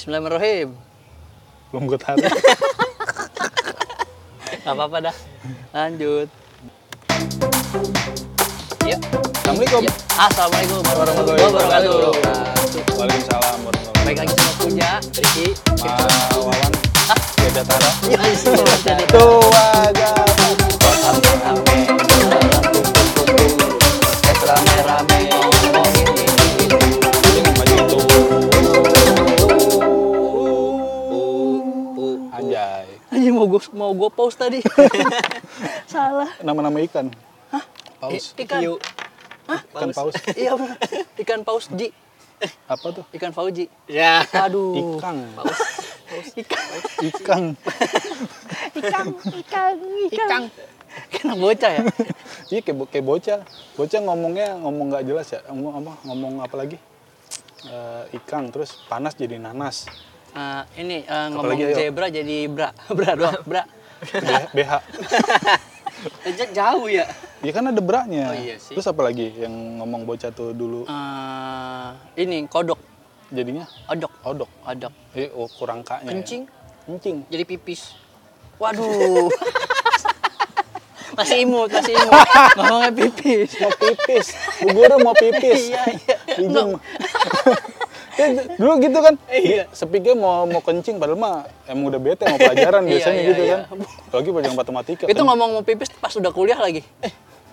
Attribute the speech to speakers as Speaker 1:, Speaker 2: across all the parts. Speaker 1: Bismillahirrahmanirrahim.
Speaker 2: belum gue tahu
Speaker 1: Gak apa-apa dah. Lanjut. Yuk.
Speaker 2: Assalamualaikum
Speaker 1: Yuk. Ya. Assalamualaikum warahmatullahi
Speaker 2: Warahmatullahi
Speaker 1: wabarakatuh.
Speaker 2: Waalaikumsalam warahmatullahi
Speaker 1: Baik lagi sama Puja, Riki.
Speaker 2: wabarakatuh Pak Wawan Beda Tara
Speaker 1: Ya, jadi
Speaker 2: Tua Gabung
Speaker 1: rame-rame. Podcast rame-rame ngomongin ini itu.
Speaker 2: Ini baju itu Anjay
Speaker 1: Anjing mau gue mau gue post tadi. Salah.
Speaker 2: Nama-nama ikan Paus
Speaker 1: I- ikan.
Speaker 2: Ikan paus
Speaker 1: Iya benar. Ikan paus Ji.
Speaker 2: Apa tuh?
Speaker 1: Ikan Fauji.
Speaker 3: Ya.
Speaker 1: Aduh.
Speaker 2: Ikang
Speaker 1: Ikan.
Speaker 2: Ikang
Speaker 1: Ikan. Ikan. Ikan. Kena bocah ya.
Speaker 2: Iya kayak, bo- kayak bocah Bocah ngomongnya ngomong nggak jelas ya Ngomong apa, ngomong apa lagi Eh, Ikang terus panas jadi nanas
Speaker 1: Eh, ini eh, ngomong
Speaker 2: Apalagi, ayo.
Speaker 1: zebra jadi bra. Bra doang. Bra.
Speaker 2: B- BH
Speaker 3: Ejak jauh ya.
Speaker 2: Ya kan ada beraknya.
Speaker 3: Oh iya sih.
Speaker 2: Terus apa lagi yang ngomong bocah tuh dulu
Speaker 1: Eh, ini kodok.
Speaker 2: jadinya
Speaker 1: Odok.
Speaker 2: odok.
Speaker 1: Odok.
Speaker 2: Eh, oh, kurang kaknya.
Speaker 1: Kencing.
Speaker 2: Ya. Kencing.
Speaker 1: Jadi pipis. Waduh. masih imut, masih imut. Ngomongnya pipis.
Speaker 2: Mau pipis. Bu guru mau pipis.
Speaker 1: Iya, iya.
Speaker 2: Bingung. Ya, d- dulu gitu kan. Iya. Sepiknya mau mau kencing padahal mah emang udah bete mau pelajaran
Speaker 1: Iya,
Speaker 2: biasanya
Speaker 1: iya,
Speaker 2: gitu
Speaker 1: iya.
Speaker 2: kan. Apalagi pelajaran matematika.
Speaker 1: Itu
Speaker 2: kan.
Speaker 1: ngomong mau pipis pas udah kuliah lagi.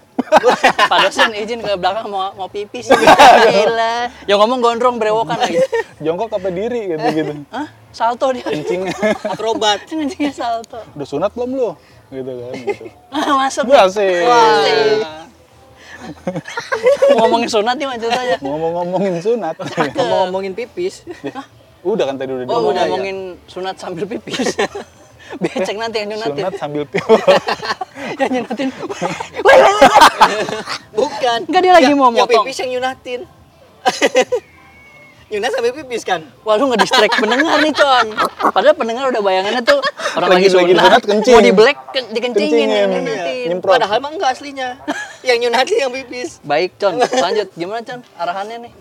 Speaker 1: Pak dosen izin ke belakang mau mau pipis. Gila. Yang ngomong gondrong berewokan lagi.
Speaker 2: jongkok apa diri gitu gitu.
Speaker 1: Hah? Salto dia.
Speaker 2: Kencing.
Speaker 3: Akrobat.
Speaker 1: Anjingnya salto.
Speaker 2: udah sunat belum lu? Gitu kan gitu.
Speaker 1: Ah, Masuk.
Speaker 2: Gua sih.
Speaker 1: Ngomongin sunat nih macam saja.
Speaker 2: Ngomong-ngomongin sunat.
Speaker 3: Mau ngomongin pipis.
Speaker 2: udah kan tadi udah
Speaker 1: Oh,
Speaker 2: diomongin.
Speaker 1: udah ngomongin sunat sambil pipis. Becek nanti yang nyunatin.
Speaker 2: sunat sambil pipis.
Speaker 1: Yang nyunatin. Wah, wah, wah.
Speaker 3: Bukan.
Speaker 1: Enggak, dia lagi
Speaker 3: Ya,
Speaker 1: mau
Speaker 3: Yang
Speaker 1: motong.
Speaker 3: pipis yang Yunatin. Yunat sampai pipis kan?
Speaker 1: Wah lu ngedistrek pendengar nih con Padahal pendengar udah bayangannya tuh Orang lagi,
Speaker 2: Lagi- lagi
Speaker 1: sunat,
Speaker 2: sunat, kencing.
Speaker 1: Mau di black ke- dikencingin
Speaker 2: Kencingin,
Speaker 1: yang
Speaker 2: iya.
Speaker 1: nyunatin.
Speaker 2: Nyemprot. Pro.
Speaker 3: Padahal mah enggak aslinya. Yang Yunatin yang pipis.
Speaker 1: Baik con, lanjut Gimana con arahannya nih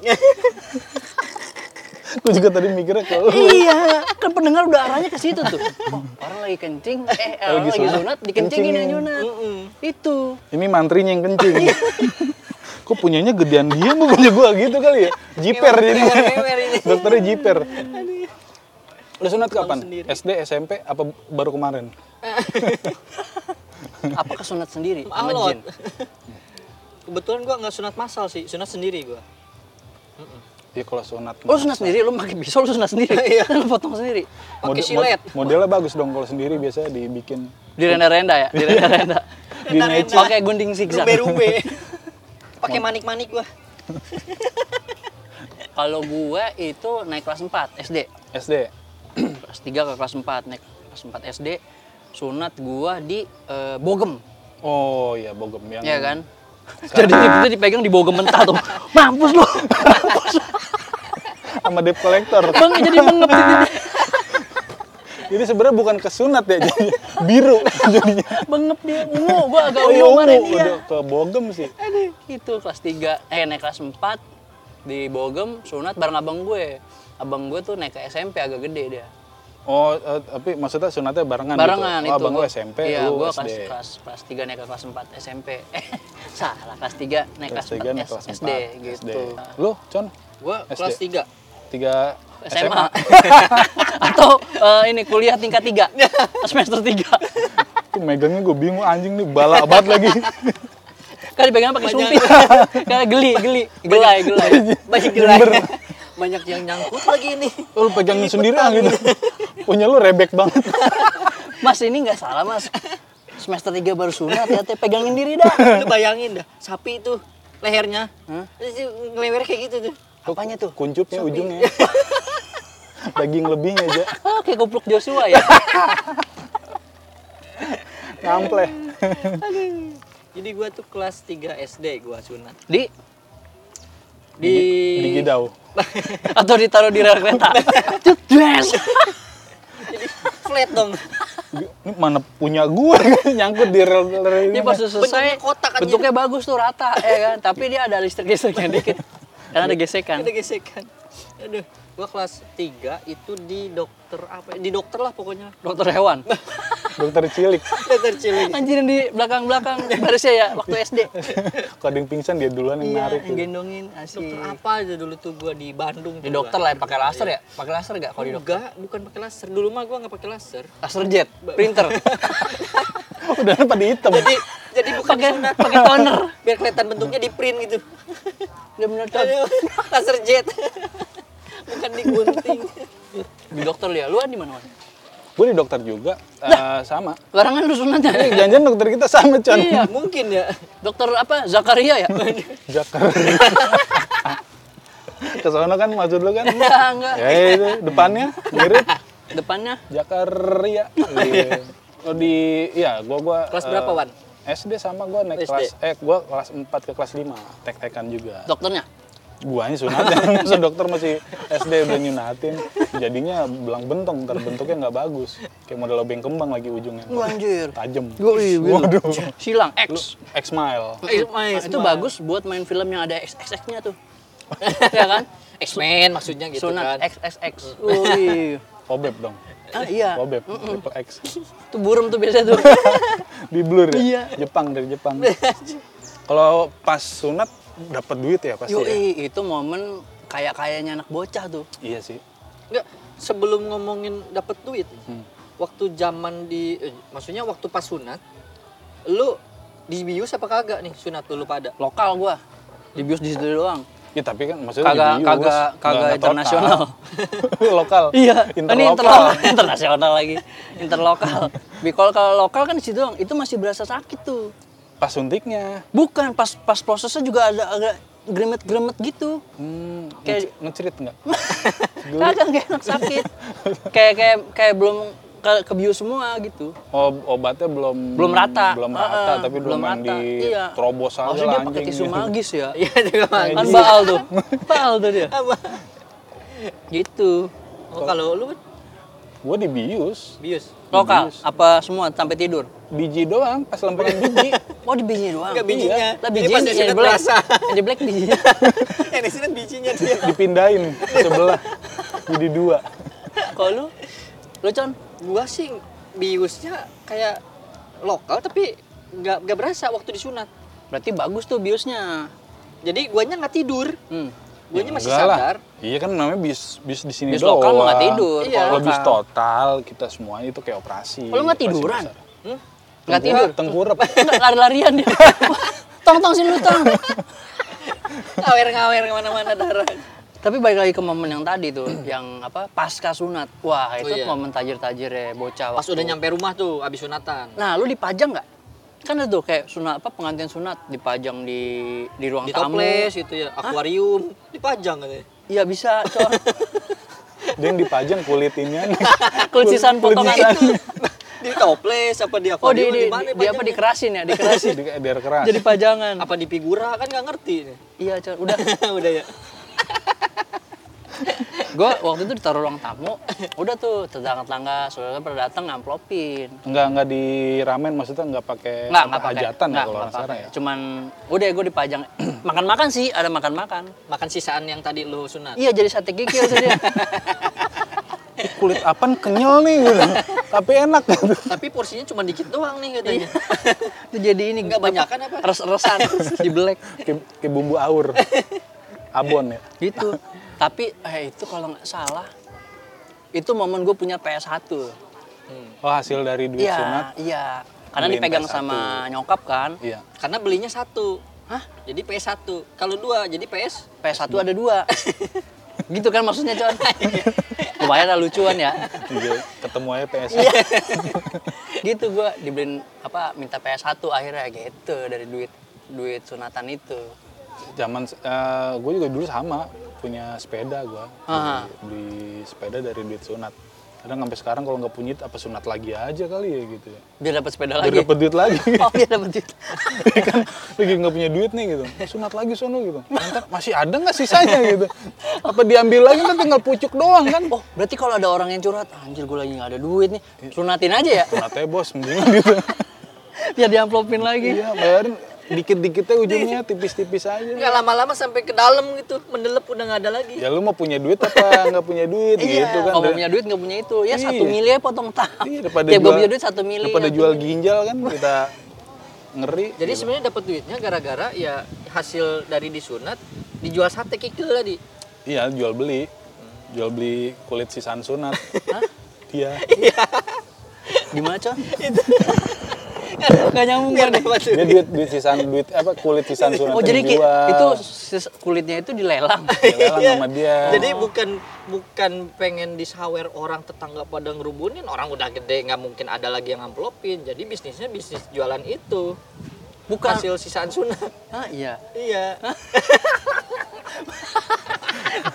Speaker 2: Gue juga tadi mikirnya ke lu.
Speaker 1: Iya Kan pendengar udah arahnya ke situ tuh oh, Orang lagi kencing Eh orang lagi
Speaker 2: sunat,
Speaker 1: sunat dikencingin yang nyunat
Speaker 2: kencingin.
Speaker 1: Itu
Speaker 2: Ini mantrinya yang kencing. Kok punyanya gedean dia bu punya gua gitu kali ya? Jiper jadi.
Speaker 3: Mewer-mewer ini.
Speaker 2: Dokternya jiper. Lu sunat kapan?
Speaker 3: sendiri.
Speaker 2: SD, SMP, apa baru kemarin?
Speaker 1: Apa kesunat sendiri sama
Speaker 3: Alot.
Speaker 1: jin
Speaker 3: Kebetulan gua nggak sunat massal sih, sunat sendiri gua.
Speaker 2: Ya kalau sunat.
Speaker 1: Lu sunat Oh, sendiri, lu pakai pisau lu sunat sendiri
Speaker 3: Iya.
Speaker 1: Lu potong sendiri
Speaker 3: Pakai
Speaker 2: Model-
Speaker 3: silet.
Speaker 2: mod- modelnya bagus dong kalau sendiri biasanya dibikin
Speaker 1: Di renda-renda ya, di renda-renda
Speaker 2: Iya. di
Speaker 3: Renda-renda.
Speaker 2: neci.
Speaker 1: Pakai gunting zigzag
Speaker 3: Rube-rube. Pakai manik-manik gua.
Speaker 1: Kalau gue itu naik kelas 4 SD
Speaker 2: SD.
Speaker 1: kelas 3 ke kelas 4 naik kelas 4 SD sunat gua di eh, Bogem
Speaker 2: Oh iya Bogem yang.
Speaker 1: ya kan
Speaker 2: Hmm.
Speaker 1: jadi itu dipegang di Bogem mentah tuh mampus lu mampus lu.
Speaker 2: Sama debt collector.
Speaker 1: bang jadi mengep ini.
Speaker 2: Jadi sebenarnya bukan kesunat ya, jadi biru jadinya.
Speaker 1: mengep dia ungu gua agak
Speaker 2: Oh, iya,
Speaker 1: ungu kemarin
Speaker 2: ungu.
Speaker 1: iya
Speaker 2: Udah ke Bogem sih.
Speaker 1: Aduh, itu kelas 3 eh naik kelas 4 di Bogem sunat bareng abang gue abang gue tuh naik ke SMP agak gede dia
Speaker 2: Oh, eh, tapi maksudnya sunatnya barengan,
Speaker 1: barengan
Speaker 2: gitu?
Speaker 1: itu
Speaker 2: Oh, abang lu
Speaker 1: Gua-
Speaker 2: SMP,
Speaker 1: iya,
Speaker 2: lu
Speaker 1: gua
Speaker 2: SD.
Speaker 1: kelas kelas kelas 3 naik ke kelas 4 SMP eh salah kelas 3 naik kelas,
Speaker 2: Kelas tiga naik kan kelas
Speaker 1: 4 SD
Speaker 2: empat,
Speaker 1: gitu
Speaker 2: SD. Lu, Con?
Speaker 3: Gua
Speaker 2: SD.
Speaker 3: kelas 3.
Speaker 2: Tiga
Speaker 1: SMA atau eh, ini kuliah tingkat 3 semester 3
Speaker 2: Itu megangnya gue bingung, anjing nih bala banget lagi.
Speaker 1: kan dipegangnya pakai sumpit karena geli geli gelai gelai
Speaker 3: Banyak gerai. Banyak yang nyangkut lagi ini.
Speaker 2: Lu pegangin sendiri ah gitu. Punya lu rebek banget.
Speaker 1: mas ini nggak salah mas semester 3 baru sunat ya teh pegangin diri dah
Speaker 3: Lu bayangin dah, sapi itu lehernya. Terus dia ngelewer kayak gitu tuh.
Speaker 1: apanya tuh
Speaker 2: Kuncupnya ujungnya. Daging lebihnya aja.
Speaker 1: oh, kayak kupluk Joshua ya
Speaker 2: Ngampleh.
Speaker 3: Jadi gua tuh kelas 3 SD gua sunat.
Speaker 1: di
Speaker 3: Di
Speaker 2: Di Gidau.
Speaker 1: atau ditaruh di rel kereta Cedes.
Speaker 3: jadi flat dong.
Speaker 2: Ini mana punya gue nyangkut di rel rel
Speaker 1: Ini
Speaker 2: ini.
Speaker 1: pas udah selesai
Speaker 3: Bentuknya kotak kan,
Speaker 1: bentuknya bagus tuh rata ya kan tapi dia ada listrik listriknya dikit karena ada Kan gesekan
Speaker 3: Ada gesekan. Aduh, Gua kelas 3 itu di dokter apa? ya? Di dokter lah pokoknya.
Speaker 1: Dokter hewan.
Speaker 2: Dokter cilik.
Speaker 3: Dokter cilik.
Speaker 1: Anjir yang di belakang-belakang harusnya ya waktu SD.
Speaker 2: Kadang pingsan dia duluan
Speaker 1: Iya,
Speaker 2: yang narik.
Speaker 1: yang gendongin
Speaker 3: Dokter
Speaker 1: asik.
Speaker 3: apa aja dulu tuh gua di Bandung.
Speaker 1: Di dokter lah yang pakai laser ya? Pakai laser enggak kalau di dokter?
Speaker 3: Enggak, bukan pakai laser. Dulu mah gua nggak pakai laser.
Speaker 1: Laser jet, printer.
Speaker 2: Udah pada Oh, hitam.
Speaker 3: Jadi jadi bukan
Speaker 1: Pakai
Speaker 3: disunat.
Speaker 1: pakai toner.
Speaker 3: biar kelihatan bentuknya di print gitu.
Speaker 1: Dia bener tuh.
Speaker 3: Aduh, laser jet. bukan digunting.
Speaker 1: Di dokter dia. Lu di mana, Wan?
Speaker 2: Gue di dokter juga. Eh, sama.
Speaker 1: Larangan lu sunatnya.
Speaker 2: Eh, Jangan-jangan dokter kita sama, Con.
Speaker 1: Iya.
Speaker 3: Mungkin ya.
Speaker 1: Dokter apa? Zakaria ya?
Speaker 2: Jakar. Kesana kan maksud lu kan?
Speaker 1: Enggak, enggak.
Speaker 2: Ya itu depannya mirip
Speaker 1: Depannya
Speaker 2: Jakaria. Iya. Kalau di ya gua gua
Speaker 3: Kelas
Speaker 2: eh,
Speaker 3: berapa, Wan?
Speaker 2: SD sama gua naik
Speaker 3: SD.
Speaker 2: kelas eh gua kelas 4 ke kelas 5 tek-tekan juga.
Speaker 1: dokternya.
Speaker 2: Guanya sunatan, masa dokter masih SD udah nyunatin, jadinya belang bentong, ntar bentuknya nggak bagus. Kayak model obeng kembang lagi ujungnya,
Speaker 1: Lu anjir.
Speaker 2: tajam.
Speaker 1: Waduh. Silang X.
Speaker 2: X-Mile.
Speaker 1: Nah,
Speaker 3: Ismail,
Speaker 1: itu
Speaker 3: Ismail.
Speaker 1: bagus buat main film yang ada XXX-nya tuh. ya kan?
Speaker 3: X-Men maksudnya gitu
Speaker 1: Sunat
Speaker 3: kan.
Speaker 1: XXX. Wih.
Speaker 2: Obeb dong,
Speaker 1: Ah, iya.
Speaker 2: obeb, triple X.
Speaker 1: Itu burem tuh biasanya tuh.
Speaker 2: Di blur ya?
Speaker 1: Iya.
Speaker 2: Jepang, dari Jepang. Kalau pas sunat, dapat duit ya pasti ya?
Speaker 1: Yoi, itu momen kayak-kayanya anak bocah tuh.
Speaker 2: Iya sih.
Speaker 3: Enggak, sebelum ngomongin dapat duit, waktu zaman di, eh, maksudnya waktu pas sunat, lu dibius apa kagak nih sunat dulu pada?
Speaker 1: Lokal gua. Dibius di situ doang.
Speaker 2: Ya tapi kan maksudnya
Speaker 1: Kagak-
Speaker 2: dibius,
Speaker 1: kagak-
Speaker 2: nggak-
Speaker 1: kagak
Speaker 2: nggak total.
Speaker 1: internasional. Iya, kan
Speaker 2: lokal.
Speaker 1: ini
Speaker 2: interlokal.
Speaker 1: interlokal, internasional lagi, interlokal. Bikol kalau lokal kan di situ doang, itu masih berasa sakit tuh.
Speaker 2: Pas suntiknya.
Speaker 1: Bukan pas pas prosesnya juga ada agak gremet-gremet gitu.
Speaker 2: Hmm,
Speaker 1: Kayak-
Speaker 2: nge- ngecerit nggak? Geli.
Speaker 1: Kagak kayak enak sakit. kayak kayak kayak belum ke kebius semua gitu.
Speaker 2: Ob- obatnya belum
Speaker 1: Belum rata.
Speaker 2: Hmm, belum rata
Speaker 1: Heeh,
Speaker 2: tapi belum main di
Speaker 1: Iya.
Speaker 2: terobos aja
Speaker 1: Maksudnya
Speaker 2: lah
Speaker 1: dia pakai
Speaker 2: anjing. gitu.
Speaker 1: tisu magis ya.
Speaker 3: Iya juga Bang.
Speaker 1: kan baal tuh. Baal tuh dia.
Speaker 3: Apa?
Speaker 1: Gitu.
Speaker 3: Oh, kalau lu
Speaker 2: Gua dibius
Speaker 3: bius.
Speaker 1: Lokal apa semua sampai tidur.
Speaker 2: biji doang pas lempengan biji.
Speaker 1: Oh di biji doang. Iya.
Speaker 3: Enggak bijinya.
Speaker 1: Lah
Speaker 3: Jadi
Speaker 1: biji yang yang
Speaker 3: pas di
Speaker 1: di
Speaker 3: sunat
Speaker 1: black.
Speaker 3: terasa.
Speaker 1: Yang di black bijinya.
Speaker 3: Ini sini bijinya dia.
Speaker 2: Dipindahin sebelah jadi dua.
Speaker 1: Kalau lu? Lu Con?
Speaker 3: Gua sih biusnya kayak lokal tapi nggak nggak berasa waktu disunat.
Speaker 1: Berarti bagus tuh biusnya.
Speaker 3: Jadi guanya nggak tidur.
Speaker 1: Hmm.
Speaker 3: Guanya masih
Speaker 2: Ya, Enggak lah.
Speaker 3: sadar.
Speaker 2: Iya kan namanya bis bis di sini
Speaker 1: Bis lokal mah nggak
Speaker 2: doang.
Speaker 1: tidur,
Speaker 3: Iya.
Speaker 2: Kalau bis
Speaker 1: lokal.
Speaker 2: total kita semuanya itu kayak operasi.
Speaker 1: Oh, lu nggak
Speaker 2: operasi
Speaker 1: tiduran?
Speaker 2: besar.
Speaker 3: Hmm?
Speaker 1: Nggak
Speaker 2: Tengkurap-
Speaker 1: tidur?
Speaker 2: Tengkurap.
Speaker 1: Enggak lari-larian dia. Tong-tong sini lu tong.
Speaker 3: Ngawer-ngawer kemana-mana darah.
Speaker 1: Tapi balik lagi ke momen yang tadi tuh, yang apa pasca sunat. Wah itu
Speaker 3: Oh, iya.
Speaker 1: momen tajir-tajir ya bocah.
Speaker 3: Pas
Speaker 1: waktu-
Speaker 3: udah nyampe rumah tuh abis sunatan.
Speaker 1: Nah lu dipajang nggak? Kan ada tuh kayak sunat apa pengantin sunat dipajang di di ruang
Speaker 3: Di
Speaker 1: tamu.
Speaker 3: toples gitu ya, akuarium, dipajang katanya.
Speaker 1: Iya bisa. Cor.
Speaker 2: Dia yang dipajang kulitinnya.
Speaker 1: Kulit sisan potongan.
Speaker 3: itu di toples apa di
Speaker 1: Oh di,
Speaker 3: akuarium
Speaker 1: di,
Speaker 3: di mana
Speaker 1: di apa
Speaker 3: pajangnya?
Speaker 1: dikerasin ya dikerasin.
Speaker 2: Iya Di daerah keras.
Speaker 1: Jadi pajangan.
Speaker 3: apa di figura kan nggak ngerti nih.
Speaker 1: Iya cor. Udah.
Speaker 3: udah ya
Speaker 1: Gue waktu itu ditaruh ruang tamu. Udah tuh tetangga-tetangga saudara pada datang ngamplopin.
Speaker 2: Enggak enggak di ramen maksudnya enggak pakai
Speaker 1: Nggak,
Speaker 2: apa,
Speaker 1: nggak pakai.
Speaker 2: hajatan ya
Speaker 1: Nggak,
Speaker 2: kalau
Speaker 1: nggak
Speaker 2: orang sekarang
Speaker 1: pakai.
Speaker 2: ya.
Speaker 1: Cuman udah gue dipajang. Makan-makan sih, ada makan-makan.
Speaker 3: makan sisaan yang tadi lu sunat
Speaker 1: Iya jadi sate kikil tuh dia.
Speaker 2: Ih, kulit apaan kenyal nih gitu. Tapi enak gitu.
Speaker 3: tapi porsinya cuma dikit doang nih katanya
Speaker 1: Itu jadi ini
Speaker 3: Nggak banyakan apa?
Speaker 1: Res-resan di black
Speaker 2: Kayak, kayak bumbu aur. Abon ya.
Speaker 1: gitu. Tapi eh itu kalau nggak salah itu momen gue punya PS1.
Speaker 2: Oh hasil dari duit
Speaker 1: Iya,
Speaker 2: sunat.
Speaker 1: iya. Karena
Speaker 2: Beliin
Speaker 1: dipegang
Speaker 2: PS1.
Speaker 1: sama nyokap kan.
Speaker 2: Iya.
Speaker 3: karena belinya satu
Speaker 1: Hah?
Speaker 3: jadi PS 1 kalau dua jadi PS
Speaker 1: PS1 ada dua. gitu kan maksudnya, Con? Lumayan lah lucuan ya.
Speaker 2: Iya, ketemu aja PS.
Speaker 1: Iya. gitu gue dibeliin apa minta PS1 akhirnya gitu dari duit duit sunatan itu
Speaker 2: Zaman gue juga dulu sama punya sepeda gua.
Speaker 1: Aha.
Speaker 2: Beli sepeda dari duit sunat. Kadang sampai sekarang kalau nggak punya apa sunat lagi aja kali ya gitu ya.
Speaker 1: biar dapat sepeda
Speaker 2: Biar
Speaker 1: lagi
Speaker 2: dapet duit lagi.
Speaker 1: oh biar dapat duit
Speaker 2: kan lagi nggak punya duit nih gitu sunat lagi sono gitu ntar masih ada nggak sisanya gitu apa diambil lagi ntar tinggal pucuk doang kan
Speaker 1: oh berarti kalau ada orang yang curhat anjir gue lagi nggak ada duit nih sunatin aja ya
Speaker 2: sunatnya bos mendingan gitu
Speaker 1: biar diamplopin lagi
Speaker 2: iya bayarin dikit-dikitnya ujungnya
Speaker 1: Iya.
Speaker 2: tipis-tipis aja.
Speaker 3: Enggak lama-lama sampai ke dalam gitu, mendelep udah nggak ada lagi.
Speaker 2: Ya lu mau punya duit apa nggak punya duit gitu kan.
Speaker 1: Kalau Iya. Oh, punya duit nggak punya itu, ya satu
Speaker 2: Iya.
Speaker 1: mili aja potong tahap.
Speaker 2: Iya, daripada
Speaker 1: Tiap gua
Speaker 2: jual-
Speaker 1: punya duit satu mili.
Speaker 2: Daripada
Speaker 1: satu
Speaker 2: jual
Speaker 1: mili.
Speaker 2: ginjal kan kita ngeri.
Speaker 3: Jadi sebenarnya dapat duitnya gara-gara ya hasil dari disunat dijual sate kikil tadi.
Speaker 2: Iya, jual beli. Jual beli kulit sisaan sunat.
Speaker 1: Hah?
Speaker 2: Iya.
Speaker 1: Gimana con? Gak nyambung kan?
Speaker 2: Dia duit duit sisaan duit apa kulit sisaan sunat
Speaker 1: Oh jadi ki-
Speaker 2: dijual.
Speaker 1: itu sis- kulitnya itu dilelang.
Speaker 2: Dilelang sama dia.
Speaker 3: Iya. Jadi bukan bukan pengen disawer orang tetangga pada ngerubunin, orang udah gede nggak mungkin ada lagi yang amplopin. Jadi bisnisnya bisnis jualan itu.
Speaker 1: Bukan.
Speaker 3: Hasil sisaan sunat.
Speaker 1: Ah iya.
Speaker 3: iya.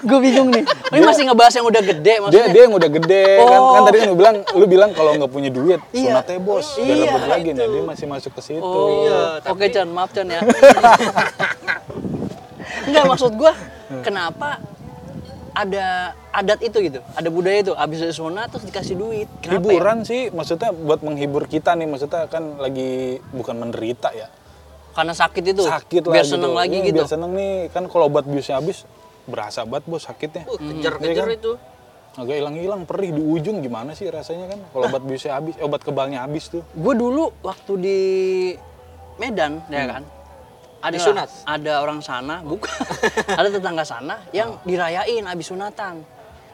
Speaker 1: Gue bingung nih. Ini masih ngebahas yang udah gede
Speaker 2: dia
Speaker 1: maksudnya.
Speaker 2: dia yang udah gede kan
Speaker 1: Oh.
Speaker 2: kan tadi kan lu bilang lu bilang kalau nggak punya duit
Speaker 1: Iya.
Speaker 2: sunatnya bos biar
Speaker 1: Iya,
Speaker 2: dapet lagi nah dia masih masuk ke situ
Speaker 1: Oh,
Speaker 3: Iya,
Speaker 1: oke
Speaker 3: tapi-
Speaker 1: Chan, maaf Chan ya. Enggak maksud gua
Speaker 2: Hmm.
Speaker 1: kenapa ada adat itu gitu, ada budaya itu, abis dari sunat terus dikasih duit. Kenapa ya?
Speaker 2: hiburan sih maksudnya buat menghibur kita nih maksudnya kan lagi bukan menderita ya
Speaker 1: Karena sakit itu.
Speaker 2: sakit lah
Speaker 1: biar
Speaker 2: gitu.
Speaker 1: seneng lagi
Speaker 2: Hmm,
Speaker 1: gitu.
Speaker 2: biar seneng nih kan kalau obat biusnya habis berasa banget bos sakitnya
Speaker 3: Uh,
Speaker 2: Iya
Speaker 3: kejar-kejar
Speaker 2: kan?
Speaker 3: itu.
Speaker 2: agak hilang-hilang perih di ujung gimana sih rasanya kan kalau obat biusnya habis eh, obat kebalnya habis tuh
Speaker 1: Gue dulu waktu di Medan, ya
Speaker 2: Hmm.
Speaker 1: kan? Ada
Speaker 3: Disunat?
Speaker 1: Ada orang sana, bukan. ada tetangga sana
Speaker 2: Oh.
Speaker 1: yang dirayain abis sunatan.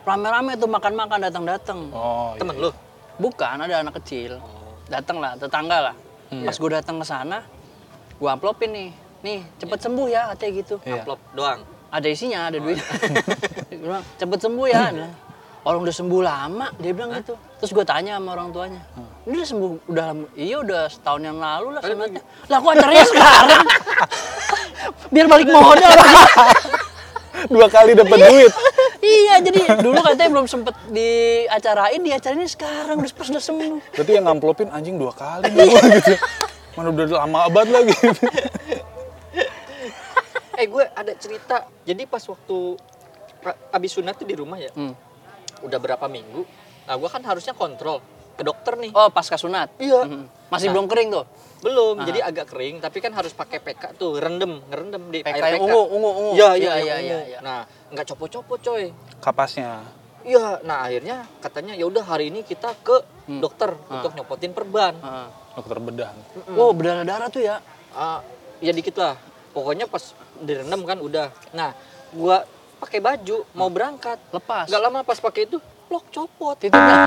Speaker 1: Rame-rame tuh makan-makan datang-datang.
Speaker 2: oh iya.
Speaker 3: Temen lu.
Speaker 1: Bukan, ada anak kecil. Datang lah, tetangga lah.
Speaker 2: Hmm.
Speaker 1: Pas gue datang ke sana, gue amplopin nih. Nih, cepet sembuh ya, katanya gitu.
Speaker 2: Iya.
Speaker 3: Amplop doang.
Speaker 1: Ada isinya, ada duit. Gua bilang, cepet sembuh ya. Dia bilang, Orang udah sembuh lama, dia bilang gitu. Terus gue tanya sama orang tuanya, ini udah sembuh, udah lama, iya udah setahun yang lalu lah sunatnya. Lah kok antarnya sekarang? Biar balik modal.
Speaker 2: dua kali dapat duit
Speaker 1: iya, jadi dulu katanya belum sempet diacarain, diacarainnya sekarang, udah pas udah sembuh.
Speaker 2: berarti yang ngamplopin anjing dua kali gitu mana udah lama banget lagi
Speaker 3: Eh gue ada cerita. Jadi pas waktu pra- abis sunat tuh di rumah ya.
Speaker 1: Hmm.
Speaker 3: Udah berapa minggu. Nah gue kan harusnya kontrol ke dokter nih.
Speaker 1: Oh, pasca sunat?
Speaker 3: Iya.
Speaker 1: Mhm. Masih
Speaker 3: Nah.
Speaker 1: belum kering tuh?
Speaker 3: Belum,
Speaker 1: Ah.
Speaker 3: jadi agak kering, tapi kan harus pakai PK tuh, rendem, ngerendem di
Speaker 1: PK
Speaker 3: air
Speaker 1: yang
Speaker 3: PK.
Speaker 1: ungu, ungu, ungu.
Speaker 3: Iya,
Speaker 1: Iya,
Speaker 3: iya,
Speaker 1: iya,
Speaker 3: iya,
Speaker 1: iya, iya.
Speaker 3: Nah, nggak copo-copo, coy.
Speaker 2: kapasnya
Speaker 3: Iya, nah akhirnya katanya ya udah hari ini kita ke
Speaker 1: Hmm.
Speaker 3: dokter
Speaker 1: Ah.
Speaker 3: untuk nyopotin perban.
Speaker 1: Heeh.
Speaker 2: dokter bedah
Speaker 1: Wow, Oh, berdarah-darah tuh ya.
Speaker 3: Ah, ya dikit lah. Pokoknya pas direndam kan udah. Nah, gua pakai baju mau
Speaker 1: Ah.
Speaker 3: berangkat.
Speaker 1: Lepas.
Speaker 3: Nggak lama pas pakai itu, blok copot.
Speaker 1: Titiknya.